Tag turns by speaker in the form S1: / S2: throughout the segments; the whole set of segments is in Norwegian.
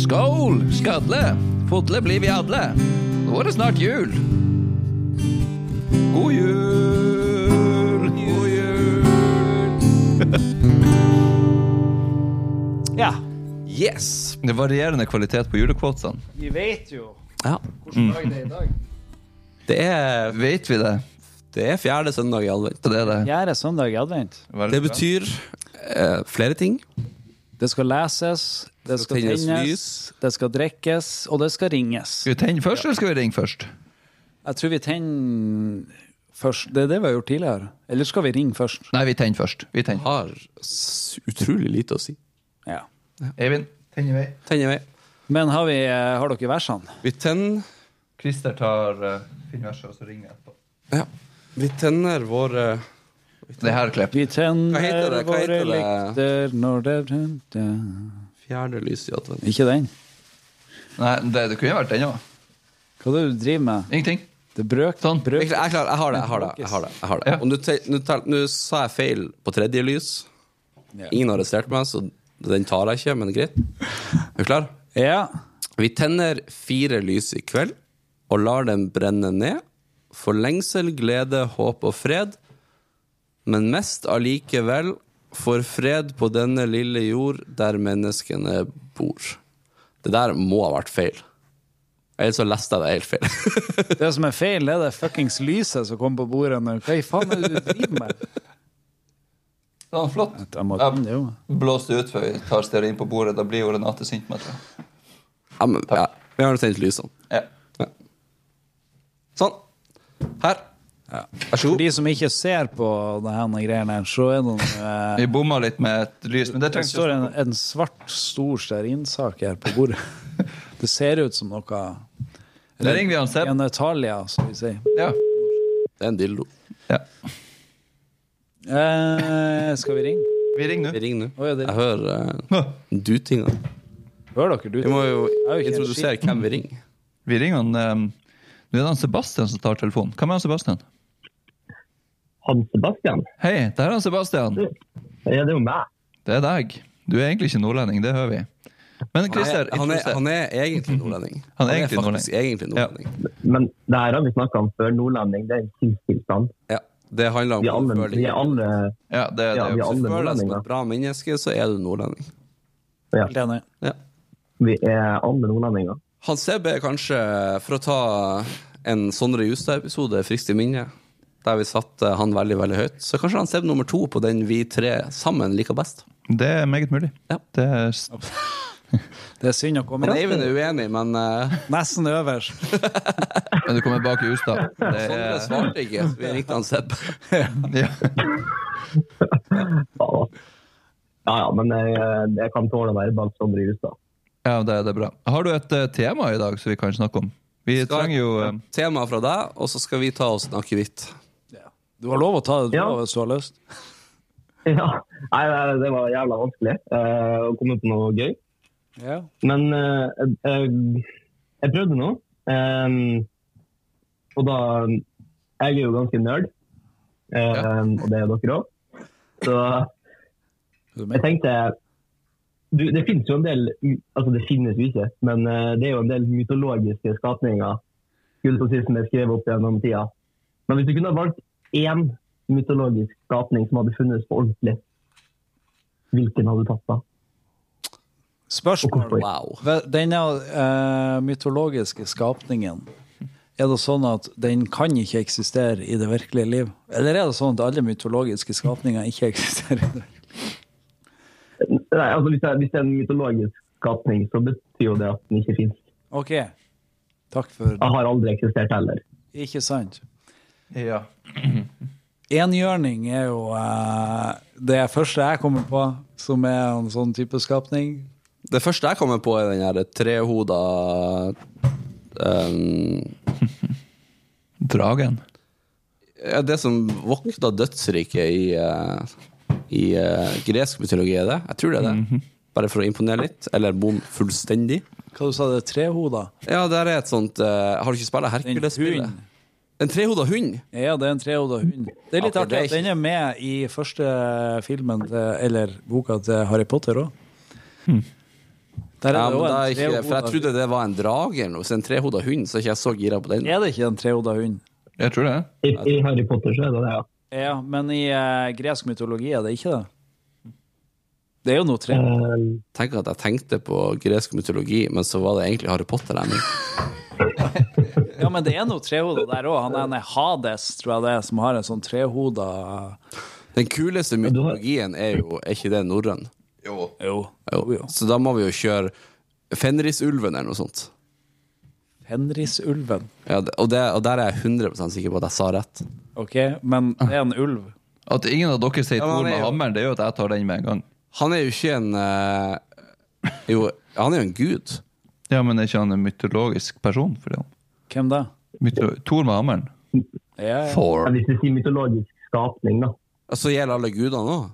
S1: Skål, skadle, fotle blir vi adle. Nå er det snart jul. God jul, god jul.
S2: Ja,
S1: Yes! Det er varierende kvalitet på julekvotene.
S2: vi vet jo
S3: Ja,
S2: hvordan dag det er i dag.
S3: det er,
S1: Vet vi det?
S3: det er fjerde søndag i advent.
S1: Det er det.
S2: Gjerde søndag i advent.
S1: Veldig
S3: Det
S1: bra.
S3: betyr eh, flere ting.
S2: Det skal leses, det
S3: skal
S2: skal
S3: tennes
S2: tennes,
S3: lys.
S2: det skal drikkes, og det skal ringes.
S1: Skal vi tenne først, eller skal vi ringe først?
S2: Jeg tror vi tenner først. Det er det vi har gjort tidligere. Eller skal vi ringe først?
S1: Nei, vi tenner først. Vi tenner.
S3: Har s utrolig lite å si.
S2: Ja.
S1: Eivind, tenn i vei.
S3: Tenner vei.
S2: Men har, vi, eh, har dere versene?
S3: Vi tenner
S1: Christer tar uh, verset, og så ringer jeg etterpå.
S3: ja. Vi tenner eh, våre
S1: Det her klipp.
S2: Vi
S3: Hva heter
S2: tenner
S3: det? Hva
S2: våre
S3: heter det?
S2: lykter når det rundt
S3: fjerde lys i advent.
S2: Ikke den.
S1: Nei, det, det kunne vært den òg.
S2: Hva er det du driver med?
S1: Ingenting.
S2: Det er brøk.
S1: Sånn.
S2: brøk.
S3: Jeg, jeg, er klar, jeg har det. jeg har det, jeg har det, jeg har det.
S1: Ja.
S3: Og nå te- nå tel- nå sa jeg feil på tredje lys.
S2: Ja.
S3: Ingen har arrestert meg, så den tar jeg ikke, men greit. Er du klar?
S2: Ja.
S3: Vi tenner fire lys i kveld og lar dem brenne ned. For lengsel, glede, håp og fred. Men mest allikevel for fred på denne lille jord der menneskene bor. Det der må ha vært feil. Ellers så leste jeg det helt feil.
S2: Det som er feil, det er det fuckings lyset som kom på bordet. Når, hva i faen er det du driver med?
S1: Sånn, flott.
S2: Jeg må,
S1: Ja.
S2: jo.
S1: Blås det ut før vi tar stearin på bordet. Da blir jo Renate sint med det.
S3: Ja, men, ja, vi har nå tent lysene.
S1: Ja.
S3: Sånn. Her. Vær så
S2: For
S3: god.
S2: de som ikke ser på denne greiene her, så er det noen eh,
S1: Vi bomma litt med et lys, men det
S2: Det
S1: trengs
S2: står en, en svart, stor stearinsak her på bordet. Det ser ut som noe
S1: Da ringer vi han Seb.
S2: En Italia, som vi sier.
S1: Ja.
S3: Det er en dildo.
S1: ja.
S2: Eh, skal vi ringe?
S1: Vi ringer
S3: Vi
S1: nå.
S3: ringer nå.
S2: Å, ja, det-
S3: Jeg hører
S1: Nå.
S3: eh, dutinga.
S2: Hører dere du?
S3: Vi må jo
S2: jo ikke en
S3: introdusere hvem vi ringer.
S1: Vi ringer han ehm, Nå er det han Sebastian som tar telefonen. Hvem er han Sebastian?
S4: Hans Sebastian?
S1: Hei, det her er han Sebastian.
S4: Ja, det er jo meg.
S1: Det er deg. Du er egentlig ikke nordlending, det hører vi. Men Christer,
S3: Nei, han, er,
S1: introduser.
S3: han er egentlig nordlending.
S1: Han er egentlig
S3: faktisk egentlig nordlending.
S4: Men det her har vi snakka om før. Nordlending, det er en sinnstilstand.
S3: Ja. Det handler om
S4: Vi er alle,
S3: hvordan du føler
S4: vi er
S3: deg.
S4: alle
S1: ja, det, det,
S4: ja,
S1: er
S4: vi
S1: jo-
S4: er
S3: Hvis du føler deg som
S4: alle nordlendinger.
S3: et bra menneske, så er du nordlending.
S2: Helt enig.
S3: Ja.
S4: Vi er alle nordlendinger.
S3: Han Seb er kanskje, for å ta en Sondre Justad-episode friskt i minne, der vi satte han veldig veldig høyt, så kanskje han Seb nummer to på den vi tre sammen liker best.
S1: det er meget mulig.
S3: Ja.
S1: Det er s-
S2: Det er synd å komme
S3: Men Eivind er uenig, men eh,
S2: Nesten øverst.
S1: Men du kommer bak i Ustad. Det
S3: Sondre
S1: er
S3: svarte ikke, så vi ringte han Seb.
S1: ja.
S4: Ja, da. ja, ja, men jeg, jeg kan tåle å være bak sånn Sondre Justad.
S1: ja, det er det er bra. Har du et eh, tema i dag som vi kan snakke om? Vi
S3: Skal-
S1: trenger jo ehm,
S3: Tema fra deg, og så skal vi ta oss en akevitt.
S2: Du har lov å ta det du
S4: Ja.
S2: har hvis du har lyst.
S4: Ja. Nei, nei, det var jævla vanskelig eh, å komme på noe gøy.
S2: Ja.
S4: Men eh, jeg, jeg prøvde noe. Eh, og da Jeg er jo ganske nerd, eh,
S1: Ja.
S4: og det er jo dere òg. Så
S2: Du
S4: Jeg
S2: mener.
S4: tenkte du, Det finnes jo en del Altså, det finnes jo ikke, men eh, det er jo en del mytologiske skapninger skulle på sist som er skrevet opp gjennom tida. Men hvis du kunne ha valgt én mytologisk skapning som hadde funnes på ordentlig, hvilken hadde du tatt da?
S2: Spørsmål.
S3: Wow.
S2: Ve- Denne eh, mytologiske skapningen, er det sånn at den kan ikke eksistere i det virkelige liv? Eller er det sånn at alle mytologiske skapninger ikke eksisterer? i det virkelige liv?
S4: Nei, altså, hvis, det er, hvis det er en mytologisk skapning, så betyr jo det at den ikke fins.
S2: OK. Takk for
S4: Den har aldri eksistert heller.
S2: Ikke sant?
S1: ja.
S2: Enhjørning er jo eh, det første jeg kommer på som er en sånn type skapning.
S3: Det første jeg kommer på, er den her trehoda um,
S1: Dragen.
S3: ja, Det som vokta dødsriket i, eh, i eh, gresk mytologi, er det? Jeg tror det er det.
S4: Mhm.
S3: Bare for å imponere litt, eller bom fullstendig.
S2: Hva du sa du, trehoda?
S3: Ja, der er et sånt eh, Har du ikke spilt Hercules-spillet?
S2: hund.
S3: En trehoda hund?
S2: Ja, det er en trehoda hund. Det er litt
S3: Ja, for det
S2: artig
S3: er
S2: at den er med i første filmen, til, eller boka til Harry Potter òg. Der er
S3: Ja,
S2: det
S3: men
S2: jo en
S3: da er ikke, det- for jeg
S2: trehodet-
S3: trodde det var en drage eller noe. Så en trehoda hund, så er ikke jeg så gira på den.
S2: Er det ikke en trehoda hund?
S1: Jeg tror det.
S4: I, I Harry Potter så er det det, ja.
S2: Ja, men i eh, gresk mytologi er det ikke det. Det er jo noe tre.
S4: Eh,
S3: Tenk at jeg tenkte på gresk mytologi, men så var det egentlig Harry Potter. Jeg mente.
S2: Ja, men det er noe trehoda der òg. Han er en Hades, tror jeg det er, som har en sånn trehoda
S3: Den kuleste
S4: du har-
S3: mytologien er jo Er ikke det norrøn?
S1: Jo.
S2: Jo.
S3: Jo. Så da må vi jo kjøre Fenrisulven eller noe sånt.
S2: Henrisulven.
S3: Ja, det- og, det, og der er jeg 100 sikker på at jeg sa rett.
S2: OK, men det er en ulv.
S1: At ingen av dere sier
S3: Ja, men
S1: Thor
S3: han er
S1: med
S3: jo-
S1: hammeren, det er jo at jeg tar den med en gang.
S3: Han er jo ikke en eh, Jo, han er jo en gud.
S1: Ja, men er ikke han en mytologisk person? For det?
S2: Hvem da?
S1: Mytolo Thor med hammeren?
S2: Ja, ja.
S1: Thor.
S4: hvis du sier mytologisk skapning, da.
S3: Så gjelder alle gudene òg.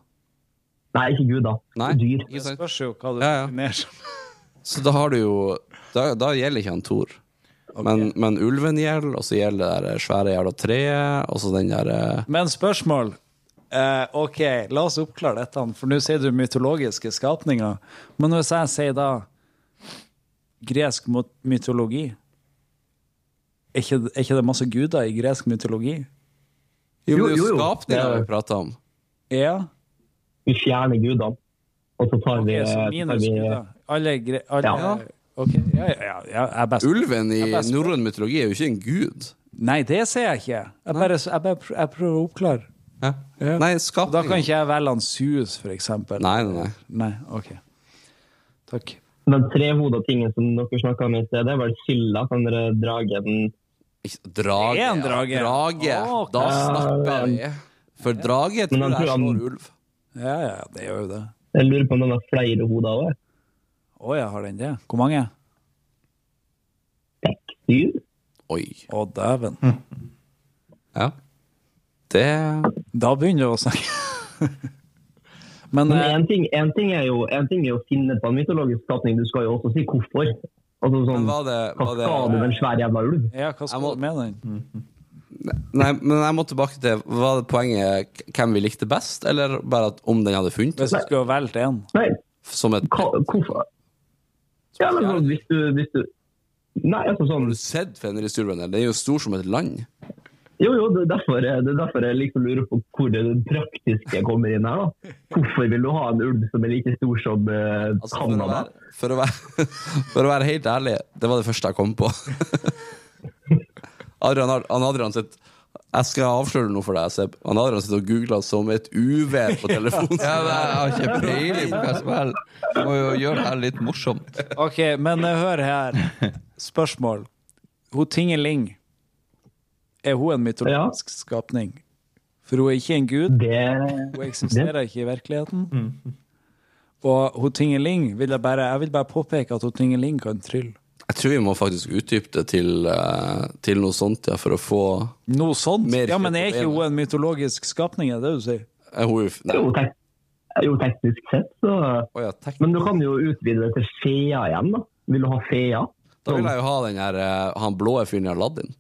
S4: Nei, ikke gud, da.
S3: Nei.
S4: Dyr.
S3: Ikke
S2: Det
S3: sant?
S2: spørs jo hva du
S3: Ja, ja.
S2: definerer som.
S3: Så da har du jo Da, da gjelder ikke han Thor. Men, men ulven gjelder, og så gjelder det der svære jævla treet, og så den der eh,
S2: Men spørsmål. Eh, OK, la oss oppklare dette, for nå sier du mytologiske skapninger. Men hvis jeg sier da gresk mot- mytologi er ikke, er ikke det masse guder i gresk mytologi?
S3: Jo, men det er
S4: jo,
S3: jo
S4: jo.
S3: skapninga vi prater om.
S2: Ja.
S4: Vi fjerner gudene, og så tar
S2: Ok,
S4: vi,
S2: så
S4: tar
S2: minus
S4: vi
S2: guder. Alle, gre alle
S4: Ja.
S2: OK. Ja, ja, ja, ja, jeg er best.
S3: Ulven i
S2: Jeg bare spør.
S3: norrøn mytologi er jo ikke en gud.
S2: Nei, det sier jeg ikke. Jeg, bare, jeg, bare, pr- jeg prøver å oppklare.
S3: Hæ? Nei,
S2: Da kan
S3: skapninga
S2: ikke jeg velge han Sus, for eksempel.
S3: Nei, nei, nei.
S2: Nei, OK. Takk.
S4: Den trehoda tingen som dere snakka om i sted, det er vel Sylla, den der dragen
S3: Ikke- Drage.
S2: Det er en drage.
S3: ja. drage.
S2: Å, ok.
S3: Da snakker vi. For drage tror
S4: Men han
S3: jeg
S4: tror han-
S3: slår ulv.
S2: Ja, ja, det gjør jo det.
S4: Jeg lurer på om den har flere hoder òg.
S2: Å ja, har den det? Hvor mange?
S4: Syv?
S3: Oi.
S2: Å, dæven.
S3: Ja. Det
S2: Da begynner du å snakke. Men
S4: Men
S2: eh,
S4: én ting, en ting, er jo- en ting er jo å finne på en mytologisk skapning, du skal jo også si hvorfor. Altså
S3: Men
S4: sånn
S3: var det,
S4: Hva
S3: var det
S4: skal du med en svær jævla ulv?
S2: ja, hva skal
S3: Jeg må-
S2: du med den?
S3: Nei, men jeg må tilbake til Var det poenget k- hvem vi likte best, eller bare at om den hadde funnet
S2: Hvis du skulle valgt én?
S4: Nei,
S3: som et
S4: hva, hvorfor? Ja, men sånn, hvis du, hvis du Nei, altså
S3: Har
S4: sånn
S3: du sett Fenrisulven? eller? Den er jo stor som et land.
S4: Jo, jo, det er derfor, det er derfor jeg liksom lurer på hvor det praktiske kommer inn her. da. Hvorfor vil du ha en ulv som er like stor som eh,
S3: Altså, for, å
S4: Canada?
S3: være, for, å være, for å være helt ærlig, det var det første jeg kom på. Adrian, har- han Adrian sitt, jeg skal avsløre noe for deg, Seb. Han Adrian sitter og googler som et uvær på telefonen.
S1: Ja, men jeg har ikke peiling på hva som helst. Må jo gjøre det her litt morsomt.
S2: OK, men eh, hør her. Spørsmål. Hun Tingeling, er hun en mytologisk skapning? For hun er ikke en gud,
S4: Det,
S2: hun eksisterer ikke i virkeligheten. Og hun Tingeling vil jeg bare Jeg vil bare påpeke at hun Tingeling kan trylle.
S3: Jeg tror vi må faktisk utdype det til, eh, til noe sånt, ja, for å få
S2: Noe sånt?
S3: Mer
S2: Ja, men er
S3: kjøtt på
S2: ikke hun en mytologisk skapning, er det det du sier?
S3: Eh, hun- Nei,
S4: jo, tek, jo, teknisk sett, så
S3: å ja, tek-
S4: Men du kan jo utvide det til fea igjen, da. Vil du ha fea?
S3: Da vil jeg jo ha den her, eh, han blå fyren i Aladdin.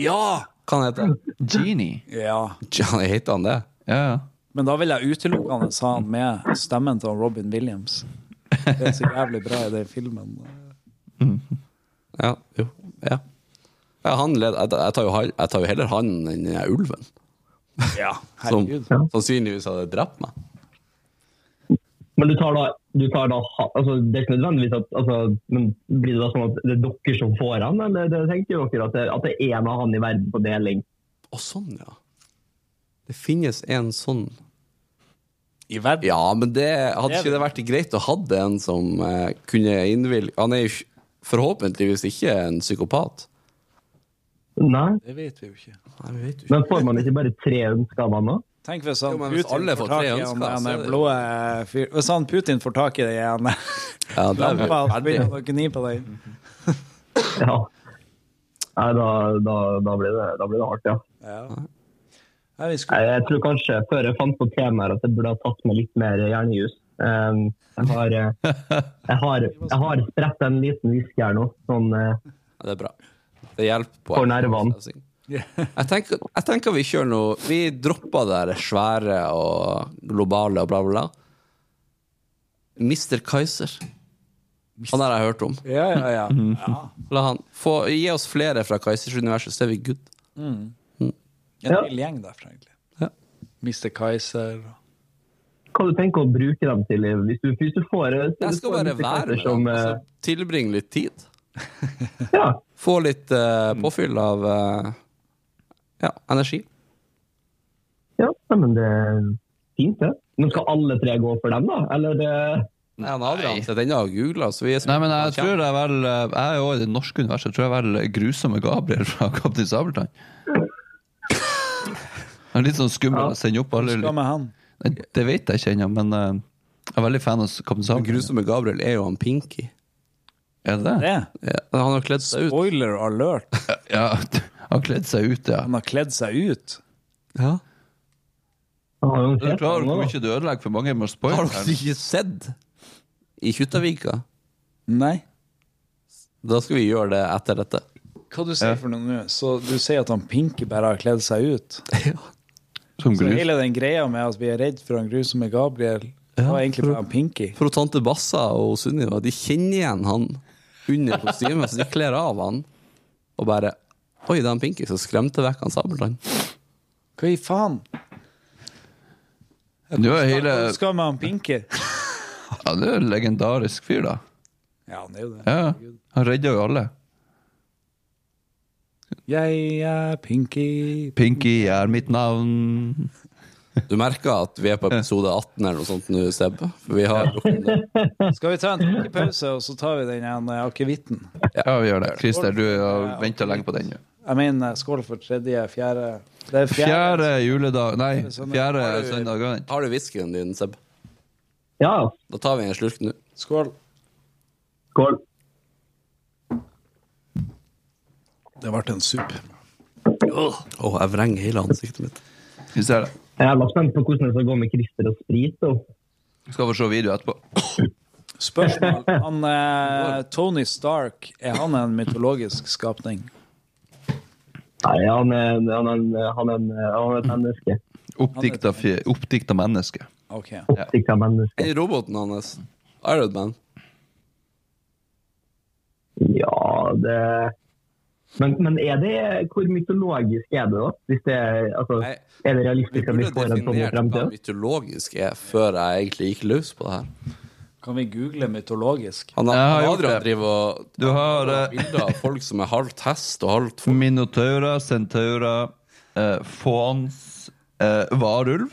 S2: Ja!
S3: Hva han heter han?
S1: Genie.
S2: Ja.
S3: Ja, Heter han det?
S1: Ja, ja.
S2: Men da vil jeg utelukkende ha han med stemmen til Robin Williams. Det er så jævlig bra i den filmen.
S3: Ja, jo, ja. ja han led, jeg, jeg, tar jo, han- jeg tar jo heller han enn den her ulven.
S2: Ja,
S3: Som
S2: herregud.
S3: sannsynligvis hadde drept meg.
S4: Men du tar da, du tar da ha- altså, Det er ikke nødvendigvis at altså, men Blir det da sånn at det er dere som får han, eller det tenker dere at det, at det er en av han i verden på deling?
S3: Å, sånn, ja. Det finnes en sånn
S2: I verden.
S3: Ja, men det hadde ikke det vært greit å ha en som eh, kunne innvilge Han er jo ikke- forhåpentligvis ikke en psykopat.
S4: Nei.
S2: Det vet vi jo ikke.
S3: Nei, vi vet jo ikke.
S4: Men får man ikke bare tre ønsker av han da?
S2: Tenk hvis
S3: Jo,
S2: han
S3: men hvis
S2: Putin
S3: alle
S2: får
S3: får
S2: tak i
S3: tre
S2: han
S3: ønsker, så er
S2: den
S3: det-
S2: blå eh, fyr... Hvis han Putin får tak i den ene
S3: Ja, det er vi
S2: lampa, så begynner
S3: ferdig.
S2: han å gni på den.
S4: Ja. Nei, da, da, da, blir det, da blir det hardt, ja.
S2: Ja. Nei, vi
S4: Nei,
S2: skulle...
S4: Jeg tror kanskje før jeg fant på temaet at jeg burde ha tatt meg litt mer hjernejus. Um, jeg har, eh, jeg har, jeg har spredt en liten whisky her nå. Sånn, eh,
S3: Ja, det er bra. Det hjelper på.
S4: For nervene.
S3: Jeg tenker, jeg tenker vi kjører noe Vi dropper det der svære og globale og bla, bla, bla. Mr. Kaiser. Han har jeg hørt om.
S2: Ja, ja, ja.
S3: Mhm.
S2: ja.
S3: La han få, gi oss flere fra Kaisers-universet, så er vi good.
S2: En
S4: Ja.
S2: vill gjeng derfra, egentlig.
S3: Ja.
S2: Mr. Kaiser og
S4: Hva du tenker å bruke dem til? Liv? Hvis du, hvis du får eh, hvis du
S3: Jeg skal
S4: får en
S3: bare
S4: liste
S3: være
S4: karakter
S3: med.
S4: som,
S3: dem,
S4: eh,
S3: altså, Tilbringe litt tid.
S4: ja,
S3: Få litt eh, påfyll av eh, ja, energi.
S4: ja, nei, men det er fint, det. Men skal alle tre gå for dem, da? Eller eh,
S3: Nei, han Adrian sitter ennå og googler, så vi er
S1: Nei, men jeg tror jeg vel eh, Jeg er jo i det norske universet, tror jeg vel grusomme Gabriel fra Kaptein Sabeltann. Det er litt sånn skummel å sende opp alle
S2: Hva med han?
S1: Nei, Det vet jeg ikke ennå, men eh, jeg er veldig fan av Kaptein
S3: Den
S1: Sabeltann.
S3: grusomme Gabriel er jo han Pinky.
S1: Er det det?
S2: Det?
S3: Ja, han har kledd seg ut.
S2: Boiler alert.
S1: Ja, han har kledd seg ut, ja.
S2: Han har kledd seg ut.
S3: Ja.
S4: han har jo en
S1: Er du
S4: fest,
S1: klar over
S4: han
S1: hvor
S4: også.
S1: mye du ødelegger for mange med å spoile
S3: Har dere
S1: her?
S3: ikke sett i Kjuttaviga?
S2: Nei.
S3: Da skal vi gjøre det etter dette.
S2: Hva du sier for noe nå? Så du sier at han Pinky bare har kledd seg ut?
S1: Som
S2: Så
S1: grus.
S2: hele den greia med at vi er redd for han grusomme Gabriel,
S3: Ja,
S2: var egentlig
S3: for-
S2: bare han Pinky.
S3: For hun tante Bassa og Sunniva De kjenner igjen han under kostymet, så de kler av han og bare Oi, det er han Pinky som skremte vekk han Sabeltann.
S2: Hva i faen?
S1: Du er hele
S2: Hva skal med han Pinky?
S1: Ja, du er en legendarisk fyr, da.
S2: Ja, han er jo det.
S1: Ja, Han redda jo alle.
S2: Jeg er Pinky.
S1: Pinky er mitt navn.
S3: Du merker at vi er på episode 18 eller noe sånt nå, Seb. For vi har
S2: Skal vi ta en tankepause, og så tar vi den igjen eh, akevitten?
S1: Ja, vi gjør det. Christer, du har venta lenge på den. jo.
S2: Jeg mener, eh, skål for tredje, fjerde Det er sånn- fjerde.
S1: Fjerde juledag Nei,
S2: Søndag.
S1: fjerde søndag. ja.
S3: Har du whiskyen din, Seb?
S4: Ja, ja.
S3: Da tar vi en slurk nå.
S2: Skål.
S4: skål.
S2: Det ble en sup.
S3: Å, jeg vrenger hele ansiktet mitt.
S1: Vi ser det.
S4: Jeg er jævla spent på hvordan det skal gå med Christer og sprit. da.
S1: Vi skal få se video etterpå.
S2: Spørsmål. Han, eh, Tony Stark, er han en mytologisk skapning?
S4: Nei, han er, han er, en- han er, en- han er
S3: Mm.
S4: et menneske.
S1: Oppdikta, fje- oppdikta menneske.
S2: Ok.
S4: Sikkert menneske.
S3: Enn roboten hans? Iron Man.
S4: Ja, det men, men er det, hvor mytologisk er det, da? Hvis det er, altså,
S3: Nei,
S4: er
S3: Vi
S4: det realistisk at vi
S3: burde
S4: får en sånn i
S3: definert hva
S4: fremtiden?
S3: mytologisk er, før jeg egentlig gikk løs på det her.
S2: Kan vi google mytologisk?
S3: Han,
S1: Jeg har
S3: han
S1: gjort
S3: Adrian
S1: det.
S3: driver og
S1: Du har eh,
S3: bilder av folk som er halvt hest og halvt folk.
S1: minotaurer, centaurer, eh, fauns, eh, varulv,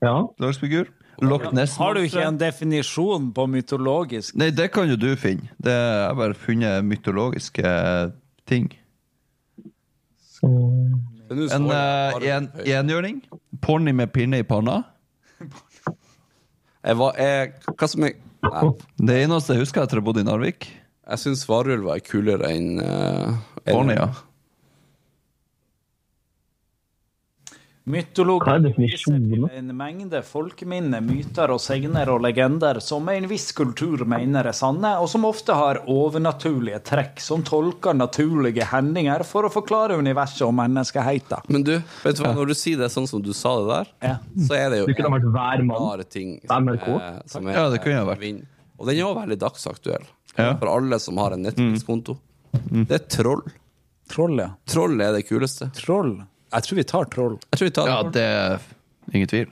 S4: Ja.
S1: lagsfigur. Loch Ness.
S2: Har du ikke en definisjon på mytologisk?
S1: Nei, det kan jo du finne. Det jeg har bare funnet mytologiske ting.
S3: Men nå
S1: En
S3: står
S1: eh,
S3: det
S1: en-
S3: bare-
S1: enhjørning. Ponni med pinne i panna.
S3: Jeg var, jeg, hva som jeg Nei,
S1: Det eneste jeg husker etter å ha bodd i Narvik.
S3: jeg syns varulv er kulere enn uh,
S1: Ponni, ja.
S2: Mytologi
S4: Hva er definisjonen?
S2: viser til En mengde folkeminner, myter og segner og legender som en viss kultur mener er sanne, og som ofte har overnaturlige trekk som tolker naturlige hendinger for å forklare universet og menneskeheten.
S3: Men du, vet du hva, når du sier det sånn som du sa det der,
S2: Ja.
S3: så er det jo
S4: Du kunne vært hver mann.
S3: klare ting
S4: NRK.
S3: er- som er-
S1: Ja, det kunne jeg vært.
S3: vind. Og den er jo veldig dagsaktuell
S1: Ja. Mm.
S3: for alle som har en Netflix-konto. Det er troll.
S2: Troll, ja.
S3: Troll er det kuleste.
S2: Troll. Jeg tror vi tar troll.
S3: Jeg tror vi tar
S1: Ja,
S3: troll.
S1: det er ingen tvil.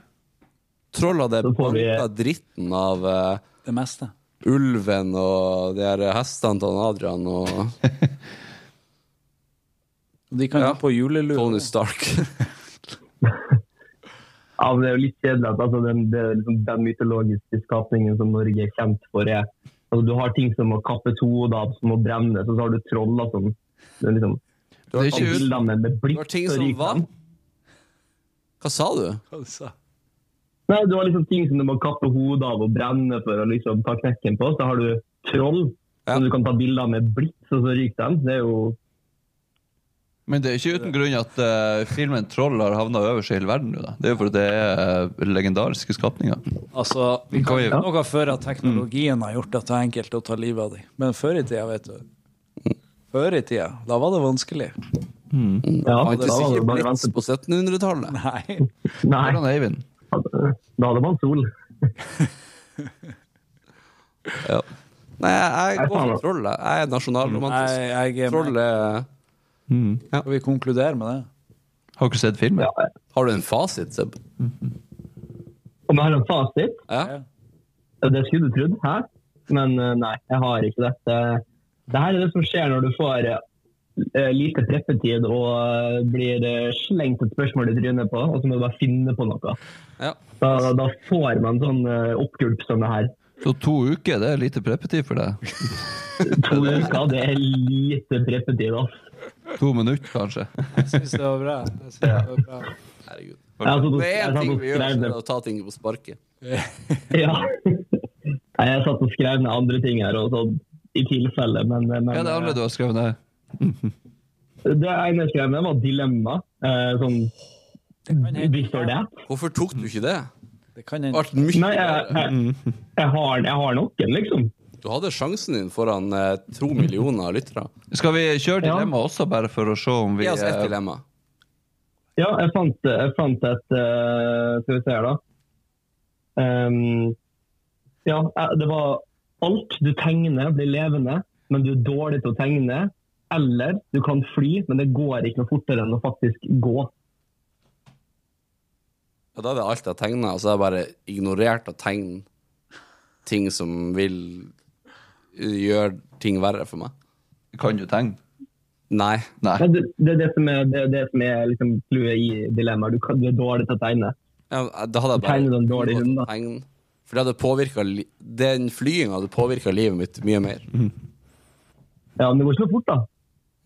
S3: Troll hadde
S4: Så får vi-
S3: banka dritten av eh,
S2: Det meste.
S3: ulven og de her hestene til han Adrian og
S2: De kan gå på julelue.
S3: Tony Stark.
S4: Ja, men det er jo litt kjedelig at altså, den, det, er liksom, den mytologiske skapningen som Norge er kjent for, er altså, Du har ting som å kappe to hoder av, som å brenne, så, så har du troller som det er liksom,
S3: Du har,
S1: Det er ikke-
S4: bilder med, med
S3: du
S4: blikk
S3: har ting
S4: og
S3: som
S4: ryker
S3: vann.
S4: dem.
S3: Hva sa du?
S2: Altså.
S4: Nei, du har liksom ting som du må kappe hodet av og brenne for å liksom ta knekken på. Så har du troll
S3: Ja.
S4: som du kan ta bilder med blikk, så, så ryker dem. Det er jo
S1: Men det er ikke uten grunn at eh, filmen 'Troll' har havna øverst i hele verden nå, da. Det er jo fordi det er eh, legendariske skapninger.
S2: Altså, vi kan
S1: Oi.
S2: ikke noe før at teknologien har gjort at det er enkelt å ta livet av dem. Men før i tida, vet du. Før i tida, da var det vanskelig.
S4: Ja, da
S3: Fantes
S4: var det
S3: ikke
S4: bare å
S3: Blitz
S4: vente
S3: på 1700-tallet?
S2: Nei.
S4: Nei,
S1: Hvordan, Eivind?
S4: da hadde man sol.
S3: Ja. Nei, jeg, jeg
S4: Jeg
S3: går
S4: tar
S3: for
S4: det.
S3: troll. jeg. Jeg er nasjonalromantisk.
S2: Jeg, jeg,
S3: Troll er
S1: Mm.
S2: Skal vi konkludere med det?
S1: Har dere sett filmen?
S4: Ja.
S3: Har du en fasit, Seb?
S4: Om jeg har en fasit?
S3: Ja.
S4: Det skulle du trodd, hæ? Men eh, nei, jeg har ikke det. Det, det her er det som skjer når du får eh, lite treffetid og eh, blir eh, slengt et spørsmål i trynet på, og så må du bare finne på noe.
S3: ja.
S4: Da, da får man sånn eh, oppgulp som det her.
S1: Så to uker, det er lite preppetid for deg?
S4: To uker, det er lite treffetid, altså.
S1: To minutter, kanskje?
S2: Jeg syns det var bra. Jeg synes det var bra.
S3: Herregud.
S4: Jeg har satt og-
S3: Det
S4: jeg
S3: er en
S4: har satt
S3: ting
S4: og
S3: vi gjør,
S4: skrevet
S3: det er
S4: ned-
S3: å ta ting på sparket.
S4: Ja. Nei, Jeg satt og skrev ned andre ting her, og sånn, i tilfelle, men, men eh,
S1: Ja, det andre du har skrevet ned.
S4: Det ene jeg skrev ned, var dilemma. Eh, sånn
S2: kan hende.
S4: Hvis det er det.
S3: Hvorfor tok du ikke det?
S2: Det kan hende.
S3: Alt mye
S4: Nei, jeg,
S3: bedre.
S1: Mm.
S4: jeg, jeg, har, jeg har noen, liksom.
S3: Du hadde sjansen din foran eh, to millioner lyttere.
S1: Skal vi kjøre
S4: Ja.
S1: dilemma også, bare for å se om vi
S3: Gi oss ett
S1: eh,
S3: dilemma.
S4: Ja, jeg fant, jeg fant et eh, Skal vi se her, da. Ehm, ja, eh, det var alt du tegner, blir levende, men du er dårlig til å tegne. Eller du kan fly, men det går ikke noe fortere enn å faktisk gå.
S3: Ja, da er det alt jeg tegna, og så har jeg bare ignorert å tegne ting som vil gjøre ting verre for meg.
S1: eh, Kan du tegne?
S3: Nei.
S1: Nei.
S4: Men det, det er det som er, det, er det som er liksom clouet i dilemmaet. Du, kan- du er dårlig til å tegne.
S3: Ja, Da hadde jeg bare
S4: Tegner den dårlige
S3: unngått
S4: hunden,
S3: å
S4: da.
S3: tegne. For det hadde påvirket li Den flyginga hadde påvirka livet mitt mye mer.
S4: Ja, men det går ikke noe fort, da.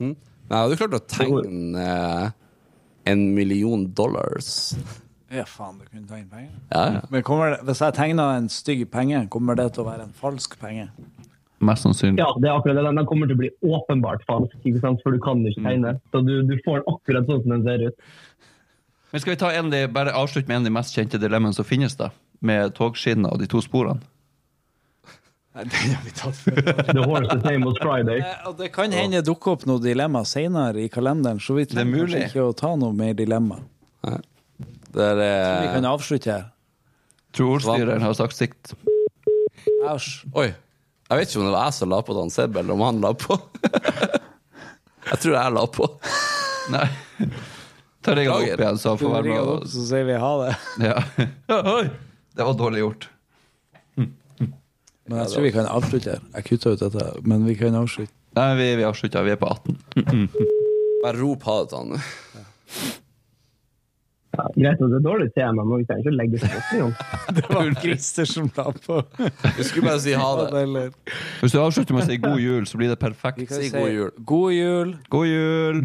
S3: Mm? Nei, jeg hadde klart å tegne eh, en million dollars.
S2: Ja, faen, du kunne ta inn penger.
S3: Ja, ja.
S2: Men kommer det, hvis jeg tegner en stygg penge, kommer det til å være en falsk penge?
S1: Mest sannsynlig.
S4: Ja, det er akkurat det. Den- Den kommer til å bli åpenbart falsk, ikke sant? for du kan ikke tegne. Så du, du får den akkurat sånn som den ser ut.
S1: Men skal vi ta en, av de- bare avslutte med en av de mest kjente dilemmaene som finnes, da? Med togskinner og de to sporene?
S2: Nei, det har vi tatt før.
S4: The horse is name was Friday.
S2: Eh, Og det kan hende dukke opp noe dilemma senere i kalenderen, så vi trenger
S1: Det er
S2: kanskje
S1: mulig.
S2: ikke å ta noe mer dilemma.
S3: Det er
S2: Vi
S3: eh,
S2: kan avslutte her.
S1: Tror ordstyreren har sagt sikt.
S2: Æsj.
S3: Oi. Jeg vet ikke om det var jeg som la på Dan Seb, eller om han la på. jeg tror jeg la på.
S1: Nei. Ta regelen
S3: Beklager.
S1: opp igjen, så han
S2: Du
S1: får være
S2: ringer
S1: med.
S2: opp,
S1: og-
S2: så sier vi ha det.
S1: Ja. Ja, oi. Det var dårlig gjort.
S2: Men jeg tror vi kan avslutte her. Jeg kutter ut dette, men vi kan avslutte.
S1: Nei, vi, vi avslutter. Vi er på 18.
S3: Bare rop ha det til han.
S4: Ja, greit at det er dårlig tema, men vi trenger ikke å legge seg opp i den.
S2: Det var Christer som la på.
S3: Du skulle bare si ha det.
S2: Eller-
S1: Hvis du avslutter med å si god jul, så blir det perfekt.
S2: Vi kan
S3: Si
S2: si
S3: god jul.
S2: God jul.
S1: God jul!